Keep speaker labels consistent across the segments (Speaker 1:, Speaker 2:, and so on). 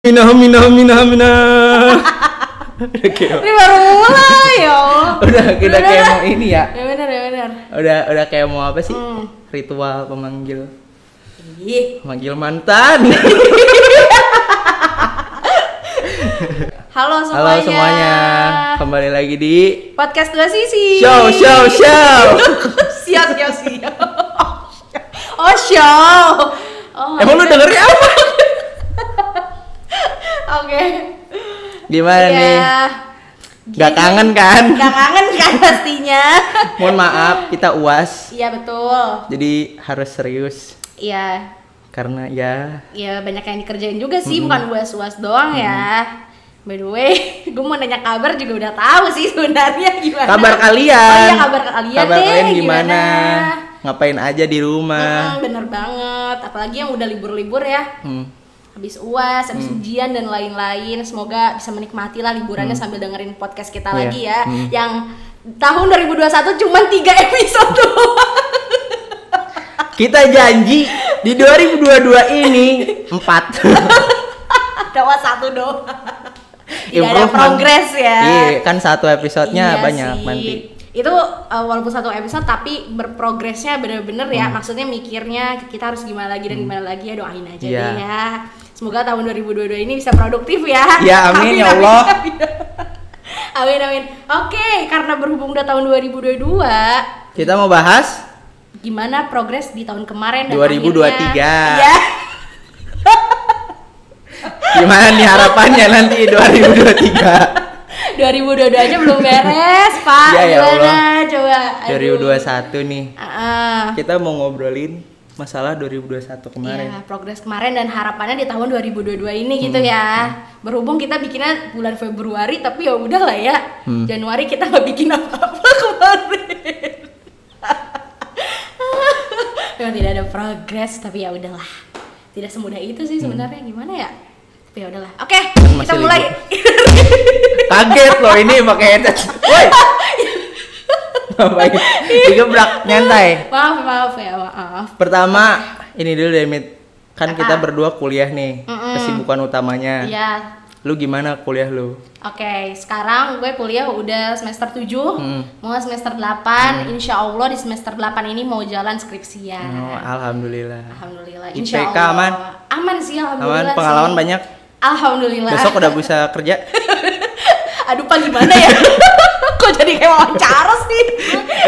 Speaker 1: Minahum minahum minahum minah. Udah kayak
Speaker 2: Ini baru mulai ya Allah.
Speaker 1: udah kita
Speaker 2: Udah,
Speaker 1: kayak
Speaker 2: udah.
Speaker 1: mau ini ya.
Speaker 2: Ya benar ya benar.
Speaker 1: Udah udah kayak mau apa sih?
Speaker 2: Hmm.
Speaker 1: Ritual pemanggil
Speaker 2: Ih.
Speaker 1: pemanggil mantan.
Speaker 2: Halo semuanya.
Speaker 1: Halo semuanya. Kembali lagi di
Speaker 2: Podcast dua sisi.
Speaker 1: show show show.
Speaker 2: siap siap siap. Oh show. Oh,
Speaker 1: Emang lu
Speaker 2: ada-
Speaker 1: dengernya apa?
Speaker 2: Oke.
Speaker 1: Gimana nih? Gak kangen kan?
Speaker 2: Iya. Gak kangen kan pastinya.
Speaker 1: Mohon maaf kita uas.
Speaker 2: Iya betul.
Speaker 1: Jadi harus serius
Speaker 2: Iya.
Speaker 1: karena ya
Speaker 2: Ya banyak yang dikerjain juga sih, bukan uas-uas doang ya. By the way, gue mau nanya kabar juga udah tahu sih sebenarnya gimana.
Speaker 1: kabar kalian.
Speaker 2: Oh iya kabar kalian
Speaker 1: Kabar
Speaker 2: deh,
Speaker 1: kalian gimana? Ngapain aja di rumah?
Speaker 2: Mm-mm, bener banget, apalagi yang udah libur-libur ya
Speaker 1: Hmm.
Speaker 2: habis uas, habis
Speaker 1: Mm.
Speaker 2: ujian dan lain-lain. Semoga bisa menikmati lah liburannya sambil dengerin podcast kita
Speaker 1: Mm. Iya.
Speaker 2: lagi ya.
Speaker 1: Hmm.
Speaker 2: Yang tahun 2021 cuman 3 episode doang.
Speaker 1: Kita janji di 2022 ini empat.
Speaker 2: Ada was satu doang. Tidak ada
Speaker 1: Improvement.
Speaker 2: progres ya.
Speaker 1: kan? Iya, kan satu episodenya
Speaker 2: Iya
Speaker 1: banyak
Speaker 2: sih.
Speaker 1: nanti.
Speaker 2: Itu uh, walaupun satu episode tapi berprogresnya bener-bener ya.
Speaker 1: Hmm.
Speaker 2: Maksudnya mikirnya kita harus gimana lagi dan gimana lagi ya doain aja
Speaker 1: Iya.
Speaker 2: deh ya. Semoga tahun 2022 ini bisa produktif ya.
Speaker 1: Ya, amin, ya Allah.
Speaker 2: Amin, amin. amin. Oke, karena berhubung udah tahun 2022,
Speaker 1: Kita mau bahas
Speaker 2: gimana progres di tahun kemarin dan
Speaker 1: 2023.
Speaker 2: akhirnya? Iya.
Speaker 1: gimana nih harapannya nanti 2023.
Speaker 2: 2022 aja belum beres, Pak.
Speaker 1: Iya, ya
Speaker 2: gimana?
Speaker 1: Allah.
Speaker 2: Coba. aduh.
Speaker 1: 2021 nih.
Speaker 2: Ah, ah.
Speaker 1: Kita mau ngobrolin masalah 2021 kemarin. Hmm.
Speaker 2: Ya, progres kemarin dan harapannya di tahun 2022 ini gitu ya. Berhubung kita bikinnya bulan Februari tapi ya udah lah ya.
Speaker 1: Hmm.
Speaker 2: Januari kita nggak bikin apa-apa kemarin. Memang tidak ada progres tapi ya udahlah. Tidak semudah itu sih sebenarnya gimana ya? Tapi ya udahlah. Oke,
Speaker 1: Kan
Speaker 2: kita
Speaker 1: Hmm. masih
Speaker 2: mulai.
Speaker 1: Kaget loh ini pakai headset. Woi. Ngapain?
Speaker 2: Iya.
Speaker 1: Digebrak nyantai.
Speaker 2: maaf, maaf ya, maaf.
Speaker 1: Pertama, ini dulu deh, Mit. Kan kita
Speaker 2: Apa?
Speaker 1: berdua kuliah nih,
Speaker 2: Ah. Mm-mm.
Speaker 1: kesibukan utamanya.
Speaker 2: Iya.
Speaker 1: Lu gimana kuliah lu?
Speaker 2: Oke, sekarang gue kuliah udah semester 7,
Speaker 1: Hmm.
Speaker 2: mau semester 8, insya Allah di semester 8 ini mau jalan skripsian.
Speaker 1: Oh, alhamdulillah.
Speaker 2: Eh. Alhamdulillah,
Speaker 1: IPK
Speaker 2: insya Allah.
Speaker 1: aman?
Speaker 2: Aman sih,
Speaker 1: Aman,
Speaker 2: alhamdulillah
Speaker 1: pengalaman
Speaker 2: sih.
Speaker 1: banyak.
Speaker 2: Alhamdulillah.
Speaker 1: Besok udah bisa kerja.
Speaker 2: Aduh, Pak gimana ya? Kok jadi kayak wawancara sih?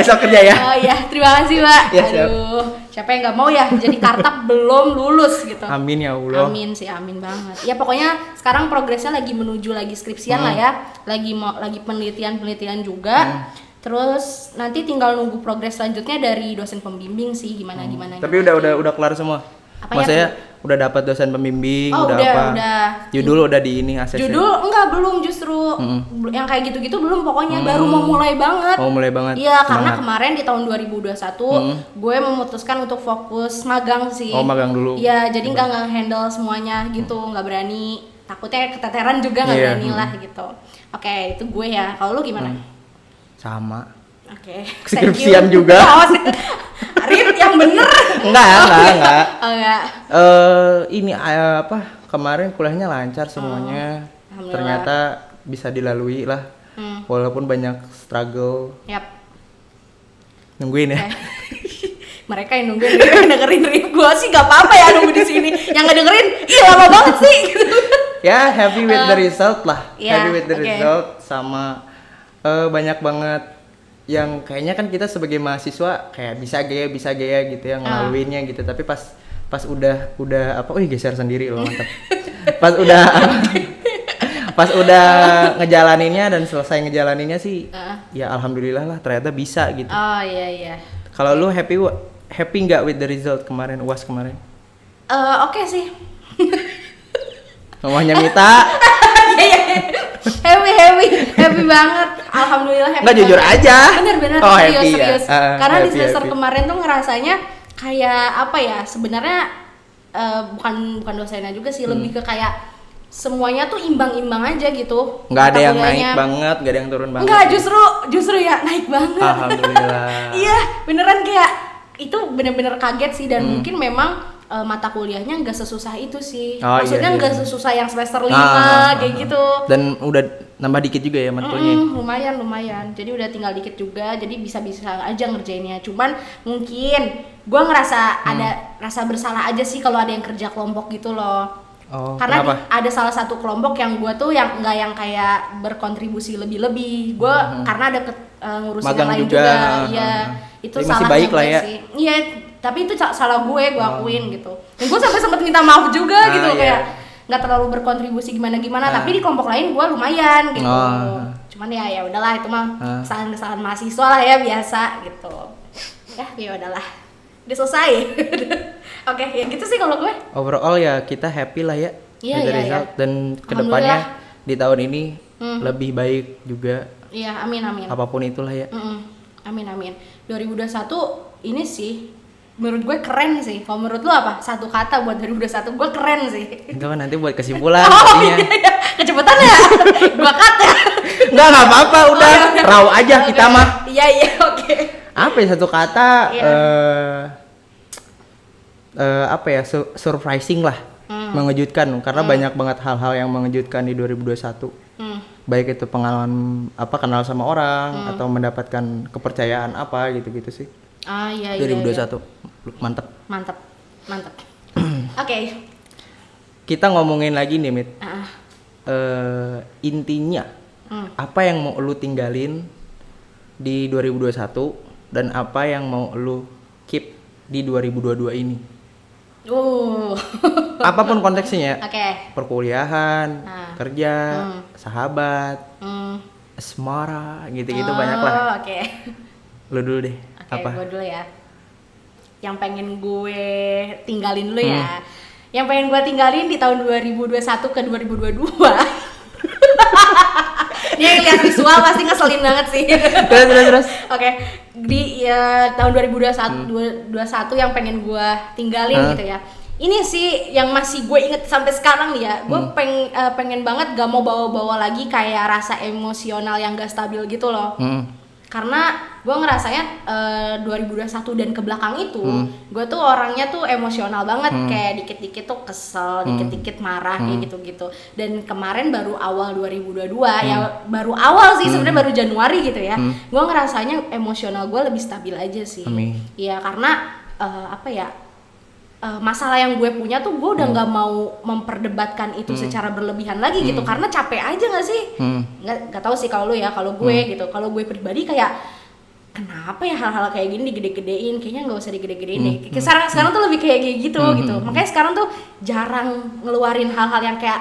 Speaker 1: Besok kerja ya.
Speaker 2: Oh iya, terima kasih Pak.
Speaker 1: Ya, siap.
Speaker 2: Aduh, siapa yang nggak mau ya jadi kartap belum lulus gitu.
Speaker 1: Amin ya Allah.
Speaker 2: Amin sih, amin banget. Ya pokoknya sekarang progresnya lagi menuju lagi skripsian lah ya,
Speaker 1: Hmm.
Speaker 2: lagi mau lagi penelitian-penelitian juga. Terus nanti tinggal nunggu progres selanjutnya dari dosen pembimbing sih gimana gimana.
Speaker 1: Hmm. Tapi udah udah udah kelar semua.
Speaker 2: Apa ya?
Speaker 1: Maksudnya udah dapat dosen pembimbing,
Speaker 2: Oh,
Speaker 1: udah,
Speaker 2: udah,
Speaker 1: apa?
Speaker 2: udah.
Speaker 1: Judul udah di ini ACC.
Speaker 2: Judul enggak belum justru Bel- yang kayak gitu-gitu belum pokoknya baru mau mulai banget.
Speaker 1: Mau mulai banget.
Speaker 2: Iya, karena
Speaker 1: Semangat.
Speaker 2: kemarin di tahun 2021 gue memutuskan untuk fokus magang sih.
Speaker 1: Oh, magang dulu.
Speaker 2: Iya, jadi nggak nge-handle semuanya gitu, nggak berani. Takutnya keteteran juga nggak
Speaker 1: Iya, Mm.
Speaker 2: berani lah gitu. Oke, itu gue ya. Kalau lu gimana?
Speaker 1: Sama.
Speaker 2: Oke. thank you.
Speaker 1: Skripsian juga.
Speaker 2: Awas. Arif yang bener.
Speaker 1: Enggak, enggak, enggak.
Speaker 2: Oh enggak.
Speaker 1: Eh ini eh, apa? Kemarin kuliahnya lancar semuanya.
Speaker 2: Oh, alhamdulillah.
Speaker 1: Ternyata bisa dilalui lah.
Speaker 2: Hmm.
Speaker 1: Walaupun banyak struggle
Speaker 2: Yap.
Speaker 1: nungguin
Speaker 2: Eh,
Speaker 1: ya.
Speaker 2: Mereka yang nungguin Rif yang dengerin Rif gue sih gak apa-apa ya nunggu di sini. Yang nggak dengerin, ih lama banget sih. Gitu.
Speaker 1: ya, happy with the result lah.
Speaker 2: Eh, ya,
Speaker 1: happy with the
Speaker 2: oke.
Speaker 1: result sama eh, banyak banget yang kayaknya kan kita sebagai mahasiswa kayak bisa gaya bisa gaya gitu ya
Speaker 2: Ah.
Speaker 1: ngelaluinnya gitu tapi pas pas udah udah apa wih geser sendiri loh mantap pas udah pas udah ngejalaninnya dan selesai ngejalaninnya sih
Speaker 2: Ah.
Speaker 1: ya alhamdulillah lah ternyata bisa gitu
Speaker 2: Oh iya iya.
Speaker 1: kalau lu happy wa- happy nggak with the result kemarin uas kemarin
Speaker 2: Eh, Oke sih.
Speaker 1: rumahnya minta
Speaker 2: Iya iya. iya. Happy happy happy banget. Alhamdulillah happy.
Speaker 1: Nggak, jujur
Speaker 2: banget.
Speaker 1: aja.
Speaker 2: Bener-bener
Speaker 1: Oh,
Speaker 2: serius
Speaker 1: happy ya.
Speaker 2: serius.
Speaker 1: Ah,
Speaker 2: Karena di
Speaker 1: happy,
Speaker 2: semester
Speaker 1: happy.
Speaker 2: kemarin tuh ngerasanya kayak apa ya? Sebenarnya eh, bukan bukan dosennya juga sih,
Speaker 1: Hmm.
Speaker 2: lebih ke kayak semuanya tuh imbang-imbang aja gitu.
Speaker 1: nggak ada yang
Speaker 2: Tabelnya.
Speaker 1: naik banget nggak ada yang turun banget
Speaker 2: Enggak, justru justru ya naik banget.
Speaker 1: Alhamdulillah. Hmm.
Speaker 2: Iya, beneran kayak itu bener-bener kaget sih dan mungkin memang eh, mata kuliahnya nggak sesusah itu sih
Speaker 1: Oh, iya,
Speaker 2: maksudnya
Speaker 1: iya.
Speaker 2: nggak sesusah yang semester lima
Speaker 1: Ah, ah,
Speaker 2: kayak
Speaker 1: ah.
Speaker 2: gitu
Speaker 1: Dan udah nambah dikit juga ya matkulnya.
Speaker 2: Mm-mm, lumayan lumayan jadi udah tinggal dikit juga jadi bisa bisa aja ngerjainnya cuman mungkin gua ngerasa
Speaker 1: Hmm.
Speaker 2: ada rasa bersalah aja sih kalau ada yang kerja kelompok gitu loh
Speaker 1: Oh,
Speaker 2: karena
Speaker 1: kenapa?
Speaker 2: di- ada salah satu kelompok yang gua tuh yang nggak yang kayak berkontribusi lebih-lebih gua karena ada ke, eh, ngurusin
Speaker 1: Hmm. Magang
Speaker 2: yang lain
Speaker 1: juga,
Speaker 2: juga,
Speaker 1: ah,
Speaker 2: iya
Speaker 1: ah, ah.
Speaker 2: itu
Speaker 1: Tapi masih
Speaker 2: salah
Speaker 1: baik lah ya. Oh.
Speaker 2: sih iya tapi itu sa- salah gue gue akuin gitu dan gue sampai sempet minta maaf juga
Speaker 1: Ah,
Speaker 2: gitu
Speaker 1: iya.
Speaker 2: kayak nggak terlalu berkontribusi gimana gimana
Speaker 1: Ah.
Speaker 2: tapi di kelompok lain gua lumayan gitu
Speaker 1: Oh.
Speaker 2: cuman ya ya udahlah itu mah
Speaker 1: Ah.
Speaker 2: kesalahan kesalahan mahasiswa lah ya biasa gitu ya ya udahlah udah selesai oke ya gitu sih kalau gue
Speaker 1: Overall ya kita happy lah ya with
Speaker 2: Iya,
Speaker 1: the
Speaker 2: iya,
Speaker 1: result dan kedepannya
Speaker 2: Alhamdulillah.
Speaker 1: di tahun ini
Speaker 2: Hmm.
Speaker 1: lebih baik juga
Speaker 2: iya amin amin
Speaker 1: apapun itulah ya.
Speaker 2: Mm-mm. amin amin 2021 ini sih menurut gue keren sih kalau menurut lu apa satu kata buat 2021 gue keren sih
Speaker 1: Enggak kan nanti buat kesimpulan
Speaker 2: oh
Speaker 1: jadinya.
Speaker 2: iya, iya. kecepatan ya gue kata
Speaker 1: Enggak enggak apa-apa
Speaker 2: Oh,
Speaker 1: udah raw aja
Speaker 2: Oke.
Speaker 1: kita mah.
Speaker 2: iya iya oke
Speaker 1: Apa ya satu kata
Speaker 2: Iya.
Speaker 1: eh eh, apa ya su- surprising lah.
Speaker 2: Mm.
Speaker 1: Mengejutkan karena banyak banget hal-hal yang mengejutkan di 2021.
Speaker 2: Hmm.
Speaker 1: baik itu pengalaman apa kenal sama orang atau mendapatkan kepercayaan apa gitu-gitu sih.
Speaker 2: ah iya iya, iya.
Speaker 1: 2021 mantep.
Speaker 2: mantap mantap oke
Speaker 1: Kita ngomongin lagi nih Mit.
Speaker 2: Ah, ah.
Speaker 1: Eh, intinya
Speaker 2: Hmm.
Speaker 1: apa yang mau lu tinggalin di 2021 dan apa yang mau lu keep di 2022 ini.
Speaker 2: Uh.
Speaker 1: Apapun konteksnya ya.
Speaker 2: Oke.
Speaker 1: Perkuliahan,
Speaker 2: Ah.
Speaker 1: kerja, sahabat,
Speaker 2: Hmm.
Speaker 1: asmara, gitu-gitu
Speaker 2: Oh,
Speaker 1: banyak lah.
Speaker 2: Oke.
Speaker 1: Lu dulu deh.
Speaker 2: Oke,
Speaker 1: Gitu apa?
Speaker 2: gue dulu ya. Yang pengen gue tinggalin dulu ya. Yang pengen gue tinggalin di tahun 2021 ke 2022. Ini yang lihat visual pasti ngeselin banget sih.
Speaker 1: terus terus terus. Hmm.
Speaker 2: Oke, di ya, tahun 2021 2021 yang pengen gue tinggalin
Speaker 1: Hah?
Speaker 2: gitu ya. Ini sih yang masih gue inget sampai sekarang nih ya. Gue
Speaker 1: Hmm.
Speaker 2: peng- eh, pengen banget gak mau bawa-bawa lagi kayak rasa emosional yang gak stabil gitu loh.
Speaker 1: Mm.
Speaker 2: Karena gue ngerasanya eh, 2021 dan ke belakang itu,
Speaker 1: Hmm.
Speaker 2: gue tuh orangnya tuh emosional banget kayak dikit-dikit tuh
Speaker 1: Hmm.
Speaker 2: kesel, dikit-dikit marah kayak gitu-gitu. Dan kemarin baru awal 2022
Speaker 1: Hmm.
Speaker 2: ya baru awal sih sebenarnya baru Januari gitu ya. Gue ngerasanya emosional gue lebih stabil aja sih.
Speaker 1: Amin.
Speaker 2: Iya karena eh, apa ya? eh, masalah yang gue punya tuh gue
Speaker 1: Hmm.
Speaker 2: udah nggak mau memperdebatkan itu secara berlebihan lagi gitu karena capek aja nggak sih
Speaker 1: Hmm.
Speaker 2: nggak nggak tahu sih kalau lu ya kalau gue gitu kalau gue pribadi kayak kenapa ya hal-hal kayak gini digede-gedein kayaknya nggak usah digede-gedein deh
Speaker 1: Hmm,
Speaker 2: Kayak sekarang sekarang tuh lebih kayak kayak gitu gitu makanya sekarang tuh jarang ngeluarin hal-hal yang kayak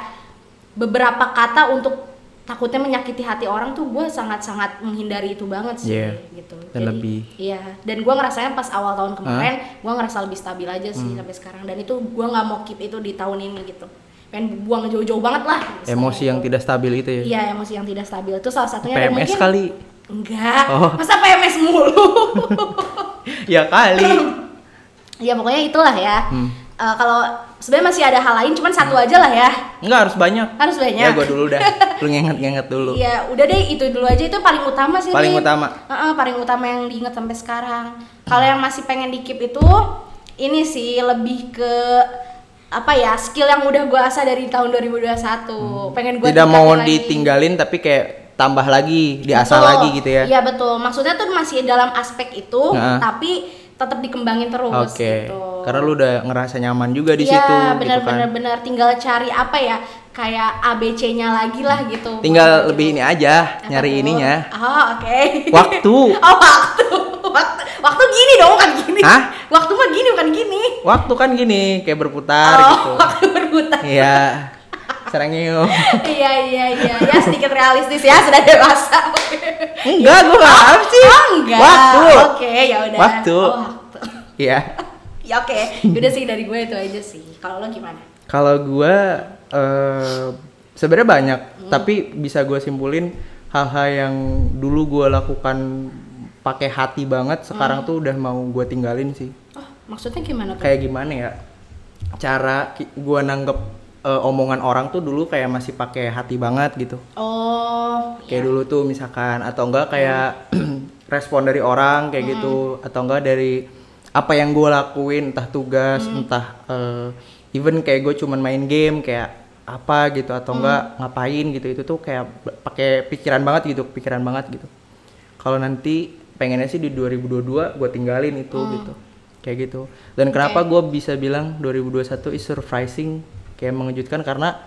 Speaker 2: beberapa kata untuk takutnya menyakiti hati orang tuh gue sangat-sangat menghindari itu banget sih
Speaker 1: Iya.
Speaker 2: gitu
Speaker 1: Dan lebih-
Speaker 2: iya dan gue ngerasanya pas awal tahun kemarin gue ngerasa lebih stabil aja sih
Speaker 1: Hmm.
Speaker 2: sampai sekarang dan itu gue nggak mau keep itu di tahun ini gitu pengen buang jauh-jauh banget lah gitu.
Speaker 1: emosi yang tidak stabil itu ya.
Speaker 2: Iya, emosi yang tidak stabil itu salah satunya dan
Speaker 1: PMS kali.
Speaker 2: Enggak.
Speaker 1: Oh.
Speaker 2: Masa PMS mulu?
Speaker 1: Ya kali.
Speaker 2: ya pokoknya itulah ya.
Speaker 1: Hmm.
Speaker 2: Eh, kalau sebenarnya masih ada hal lain cuman satu aja lah ya.
Speaker 1: Enggak harus banyak.
Speaker 2: Harus banyak.
Speaker 1: Ya gua dulu dah. Lu ngenget-ngenget dulu.
Speaker 2: Iya, udah deh itu dulu aja itu paling utama sih.
Speaker 1: Paling
Speaker 2: Rin.
Speaker 1: utama.
Speaker 2: Heeh, paling utama yang diingat sampai sekarang. Kalau yang masih pengen dikip itu ini sih lebih ke apa ya skill yang udah gue asah dari tahun 2021 pengen gue
Speaker 1: Hmm. Tidak mau ditinggalin tapi kayak tambah lagi, diasah
Speaker 2: Betul.
Speaker 1: lagi gitu ya.
Speaker 2: Iya betul. Maksudnya tuh masih dalam aspek itu,
Speaker 1: Nah.
Speaker 2: tapi tetap dikembangin terus.
Speaker 1: Oke.
Speaker 2: Gitu.
Speaker 1: Karena lu udah ngerasa nyaman juga di
Speaker 2: Iya,
Speaker 1: situ
Speaker 2: benar
Speaker 1: gitu kan.
Speaker 2: benar benar. Tinggal cari apa ya? Kayak ABC-nya lagi lah gitu.
Speaker 1: Tinggal
Speaker 2: Buat
Speaker 1: lebih
Speaker 2: gitu.
Speaker 1: ini aja,
Speaker 2: Apa
Speaker 1: nyari
Speaker 2: tuh?
Speaker 1: ininya.
Speaker 2: Oh oke.
Speaker 1: Waktu.
Speaker 2: oh waktu. Waktu, waktu gini dong bukan gini.
Speaker 1: Hah?
Speaker 2: Waktu mah gini bukan gini.
Speaker 1: Waktu kan gini, kayak berputar
Speaker 2: oh,
Speaker 1: gitu.
Speaker 2: waktu berputar.
Speaker 1: Iya. Serangnya
Speaker 2: Iya iya iya ya sedikit realistis ya sudah dewasa.
Speaker 1: Enggak, gua enggak apa sih.
Speaker 2: Oh, enggak.
Speaker 1: Waktu.
Speaker 2: Oke, ya udah.
Speaker 1: Waktu.
Speaker 2: Oh, waktu.
Speaker 1: Iya.
Speaker 2: Ya oke, udah sih dari gue itu aja sih. Kalau lo gimana?
Speaker 1: Kalau gua eh, sebenarnya banyak, tapi bisa gua simpulin hal-hal yang dulu gua lakukan pakai hati banget, sekarang tuh udah mau gua tinggalin sih.
Speaker 2: Oh, maksudnya gimana tuh?
Speaker 1: Kayak gimana ya? Cara ki- gua nanggep eh, omongan orang tuh dulu kayak masih pakai hati banget gitu.
Speaker 2: Oh,
Speaker 1: Kayak dulu tuh misalkan atau enggak kayak respon dari orang kayak gitu atau enggak dari apa yang gue lakuin entah tugas entah eh, even kayak gue cuman main game kayak apa gitu atau enggak ngapain gitu itu tuh kayak b- pakai pikiran banget gitu pikiran banget gitu kalau nanti pengennya sih di 2022 gue tinggalin itu gitu kayak gitu dan kenapa gue bisa bilang 2021 is surprising kayak mengejutkan karena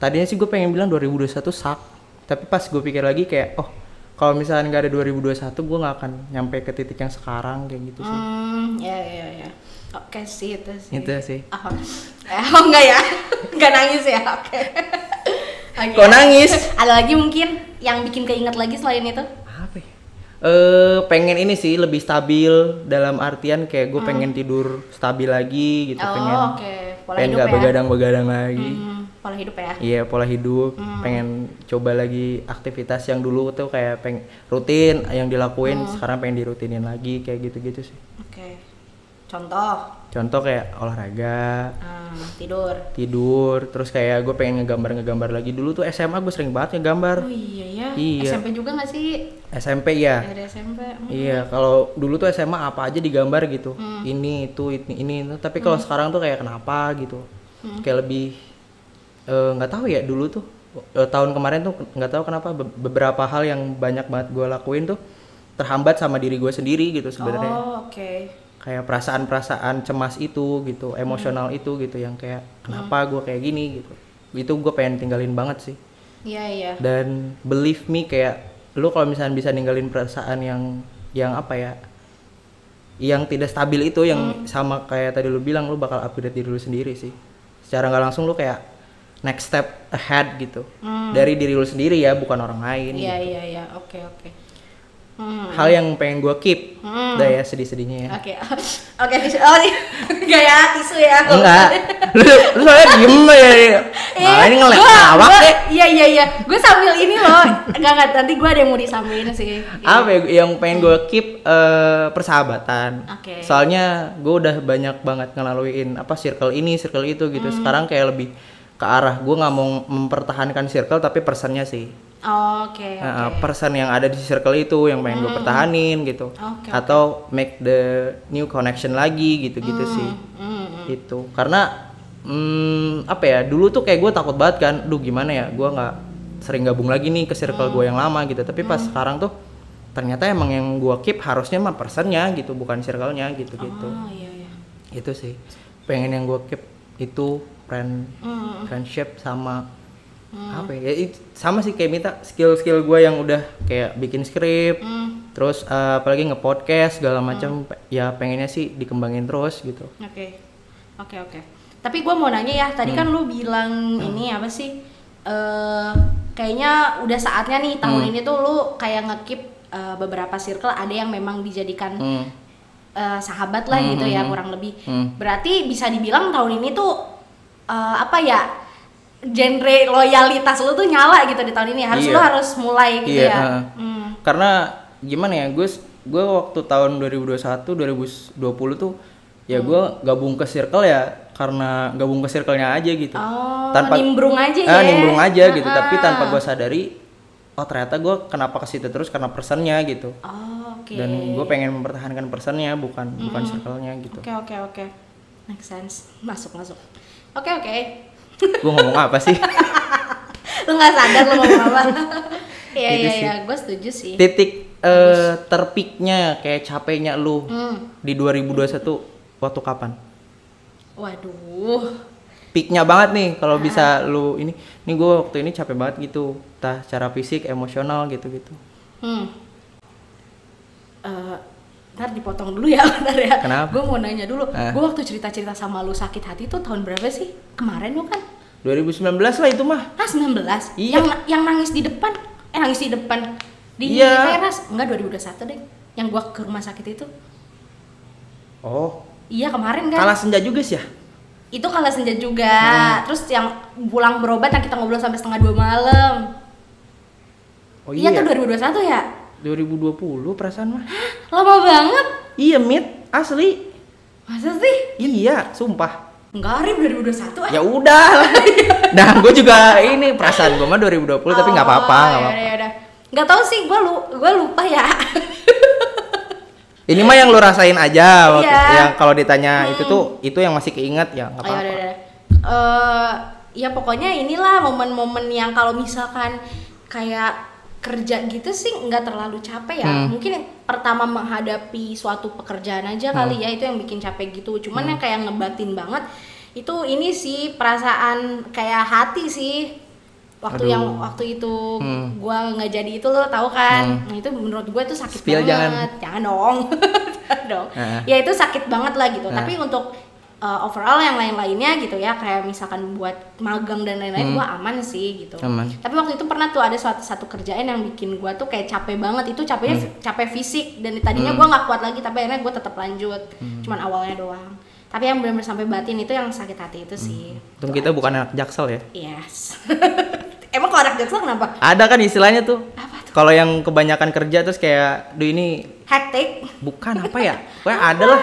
Speaker 1: tadinya sih gue pengen bilang 2021 sak tapi pas gue pikir lagi kayak oh kalau misalnya nggak ada 2021 gue nggak akan nyampe ke titik yang sekarang kayak gitu sih
Speaker 2: Hmm, ya ya ya. Oke sih itu sih.
Speaker 1: itu sih
Speaker 2: Oh, Eh, oh, enggak ya? Enggak nangis ya? Oke. Oke.
Speaker 1: Kok nangis?
Speaker 2: Ada lagi mungkin yang bikin keinget lagi selain itu?
Speaker 1: apa ya? Eh, pengen ini sih lebih stabil dalam artian kayak gue pengen tidur stabil lagi gitu
Speaker 2: Hmm. oh,
Speaker 1: pengen
Speaker 2: oke. Pola
Speaker 1: pengen
Speaker 2: hidup
Speaker 1: nggak
Speaker 2: ya.
Speaker 1: begadang-begadang lagi
Speaker 2: Hmm, pola hidup ya.
Speaker 1: Iya pola hidup, pengen coba lagi aktivitas yang dulu tuh kayak peng rutin yang dilakuin
Speaker 2: Hmm.
Speaker 1: sekarang pengen dirutinin lagi kayak gitu-gitu sih.
Speaker 2: Oke. Contoh
Speaker 1: Contoh kayak olahraga,
Speaker 2: hmm, tidur.
Speaker 1: tidur, terus kayak gue pengen ngegambar-ngegambar lagi. Dulu tuh SMA gue sering banget
Speaker 2: Oh
Speaker 1: ngegambar.
Speaker 2: iya ya.
Speaker 1: Iya.
Speaker 2: SMP juga nggak sih?
Speaker 1: SMP ya.
Speaker 2: Dari SMP. Hmm.
Speaker 1: Iya, kalau dulu tuh SMA apa aja digambar gitu. Ini itu ini ini itu. Tapi kalau sekarang tuh kayak kenapa gitu. Kayak lebih eh, nggak tahu ya dulu tuh eh, tahun kemarin tuh nggak tahu kenapa be- beberapa hal yang banyak banget gue lakuin tuh terhambat sama diri gue sendiri gitu sebenarnya.
Speaker 2: Oh, oke.
Speaker 1: Kayak perasaan-perasaan cemas itu gitu,
Speaker 2: Hmm.
Speaker 1: emosional itu gitu yang kayak kenapa gue kayak gini gitu. Itu gue pengen tinggalin banget sih
Speaker 2: Iya, iya.
Speaker 1: dan believe me kayak lu kalau misalnya bisa ninggalin perasaan yang yang apa ya yang tidak stabil itu
Speaker 2: Hmm.
Speaker 1: yang sama kayak tadi lu bilang lu bakal upgrade diri lu sendiri sih secara nggak langsung lu kayak next step ahead gitu
Speaker 2: Hmm.
Speaker 1: dari diri lu sendiri ya bukan orang lain gitu.
Speaker 2: Iya, iya, iya. Oke, oke. Hmm.
Speaker 1: hal yang pengen gua keep
Speaker 2: Hmm.
Speaker 1: udah ya sedih-sedihnya ya
Speaker 2: Oke. Oke, tisu. Oh, iya. enggak ya, tisu ya.
Speaker 1: enggak lu, lu soalnya diem ya malah ini ngelek
Speaker 2: Iya. gua-
Speaker 1: lawak
Speaker 2: gua-
Speaker 1: deh
Speaker 2: Iya iya iya. Gue sambil ini loh. Enggak enggak nanti gue ada yang mau disambilin sih.
Speaker 1: apa ya, yang pengen gue keep eh, persahabatan
Speaker 2: Oke.
Speaker 1: soalnya gue udah banyak banget ngelaluin apa circle ini circle itu gitu
Speaker 2: Hmm.
Speaker 1: sekarang kayak lebih ke arah gue nggak mau mempertahankan circle tapi personnya sih Eh,
Speaker 2: Oke. Hmm.
Speaker 1: eh, person yang ada di circle itu yang pengen gue pertahanin gitu
Speaker 2: Oke,
Speaker 1: atau make the new connection lagi gitu gitu sih
Speaker 2: Hmm.
Speaker 1: itu Gitu. karena hmm, apa ya dulu tuh kayak gue takut banget kan duh gimana ya gue nggak sering gabung lagi nih ke circle gue
Speaker 2: Hmm.
Speaker 1: yang lama gitu tapi pas sekarang tuh ternyata emang yang gue keep harusnya mah personnya gitu bukan circle-nya gitu gitu
Speaker 2: Oh iya iya.
Speaker 1: itu sih pengen yang gue keep itu friend
Speaker 2: Hmm.
Speaker 1: friendship sama apa ya, ya it- sama sih kayak minta skill-skill gue yang udah kayak bikin skrip
Speaker 2: Hmm.
Speaker 1: terus eh, apalagi nge-podcast segala macam pe- ya pengennya sih dikembangin terus gitu
Speaker 2: Oke. Oke oke. Tapi gue mau nanya ya. Tadi
Speaker 1: Hmm.
Speaker 2: kan lu bilang ini apa sih? Eh kayaknya udah saatnya nih tahun
Speaker 1: Hmm.
Speaker 2: ini tuh lu kayak ngekip eh, beberapa circle ada yang memang dijadikan
Speaker 1: Hmm.
Speaker 2: eh, sahabat lah gitu ya kurang lebih.
Speaker 1: Hmm.
Speaker 2: Berarti bisa dibilang tahun ini tuh eh, apa ya genre loyalitas lu tuh nyala gitu di tahun ini.
Speaker 1: Iya.
Speaker 2: Harus lu harus mulai
Speaker 1: Iya,
Speaker 2: gitu ya.
Speaker 1: heeh.
Speaker 2: Hmm.
Speaker 1: karena gimana ya gue gue waktu tahun 2021 2020 tuh ya gue
Speaker 2: Hmm.
Speaker 1: gabung ke circle ya karena gabung ke circle-nya aja gitu
Speaker 2: Oh, nimbrung aja
Speaker 1: Ah,
Speaker 2: ya. ah.
Speaker 1: nimbrung aja gitu
Speaker 2: Heeh.
Speaker 1: tapi tanpa gue sadari oh ternyata gue kenapa ke situ terus karena personnya gitu
Speaker 2: Oh, oke. Hmm.
Speaker 1: dan gue pengen mempertahankan personnya bukan bukan circle-nya gitu
Speaker 2: Oke oke oke. Make sense. Masuk masuk. Oke oke.
Speaker 1: gue ngomong apa sih
Speaker 2: Lu nggak sadar lu ngomong apa. Iya
Speaker 1: Gitu
Speaker 2: iya
Speaker 1: sih.
Speaker 2: iya, gue setuju sih.
Speaker 1: titik eh, terpiknya kayak capeknya lu
Speaker 2: Hmm.
Speaker 1: di 2021 waktu kapan
Speaker 2: Waduh.
Speaker 1: peaknya banget nih kalau bisa lu ini ini gue waktu ini capek banget gitu entah secara fisik emosional gitu gitu
Speaker 2: Hmm. Eh, ntar dipotong dulu ya, bentar ya.
Speaker 1: Kenapa?
Speaker 2: Gue mau nanya dulu.
Speaker 1: Eh.
Speaker 2: Gue waktu cerita-cerita sama lu sakit hati tuh tahun berapa sih? Kemarin kan? bukan?
Speaker 1: 2019 lah itu mah
Speaker 2: Ah 19.
Speaker 1: Iya.
Speaker 2: Yang yang nangis di depan. Eh nangis di depan di
Speaker 1: Iya.
Speaker 2: teras. Enggak 2021 deh. Yang gua ke rumah sakit itu.
Speaker 1: oh
Speaker 2: Iya kemarin kan.
Speaker 1: kalah Hmm. senja juga sih ya
Speaker 2: Itu kalah senja juga. Terus yang pulang berobat yang kita ngobrol sampai setengah dua malam.
Speaker 1: oh
Speaker 2: iya.
Speaker 1: iya
Speaker 2: tuh 2021 ya.
Speaker 1: 2020 perasaan mah
Speaker 2: Lama banget.
Speaker 1: iya mit asli
Speaker 2: Masa sih?
Speaker 1: iya sumpah
Speaker 2: Enggak, Arif 2021
Speaker 1: ya udah lah. nah gue juga ini perasaan gue mah 2020 tapi nggak
Speaker 2: Oh, ya iya,
Speaker 1: apa-apa nggak apa-apa
Speaker 2: Gak tau sih, gue lu, gua lupa ya.
Speaker 1: Ini mah yang lu rasain aja waktu-
Speaker 2: Iya.
Speaker 1: yang kalau ditanya itu tuh itu yang masih keinget ya nggak
Speaker 2: Ayo,
Speaker 1: apa-apa.
Speaker 2: udah, Oh, udah. Eh, ya pokoknya inilah momen-momen yang kalau misalkan kayak kerja gitu sih nggak terlalu capek ya.
Speaker 1: Hmm.
Speaker 2: Mungkin pertama menghadapi suatu pekerjaan aja kali ya itu yang bikin capek gitu. Cuman
Speaker 1: Hmm.
Speaker 2: yang kayak ngebatin banget itu ini sih perasaan kayak hati sih
Speaker 1: Aduh.
Speaker 2: waktu yang waktu itu
Speaker 1: Hmm.
Speaker 2: gua nggak jadi itu lo tau kan nah, itu menurut gue itu sakit
Speaker 1: Spill jangan.
Speaker 2: banget jangan dong Jangan dong
Speaker 1: Ah.
Speaker 2: ya itu sakit banget lah gitu
Speaker 1: Ah.
Speaker 2: tapi untuk uh, overall yang lain-lainnya gitu ya kayak misalkan buat magang dan lain-lain
Speaker 1: Hmm.
Speaker 2: gua aman sih gitu
Speaker 1: Aman.
Speaker 2: tapi waktu itu pernah tuh ada suatu satu kerjaan yang bikin gua tuh kayak capek banget itu capeknya
Speaker 1: Hmm.
Speaker 2: capek fisik dan tadinya gua nggak kuat lagi tapi akhirnya gua tetap lanjut
Speaker 1: Hmm.
Speaker 2: cuman awalnya doang tapi yang benar-benar sampai batin itu yang sakit hati itu sih
Speaker 1: Untung kita bukan anak jaksel ya.
Speaker 2: yes emang kalau anak jaksel kenapa
Speaker 1: Ada kan istilahnya tuh.
Speaker 2: Apa
Speaker 1: Kalau yang kebanyakan kerja terus kayak, duh ini
Speaker 2: hektik
Speaker 1: bukan apa ya? Pokoknya ada lah.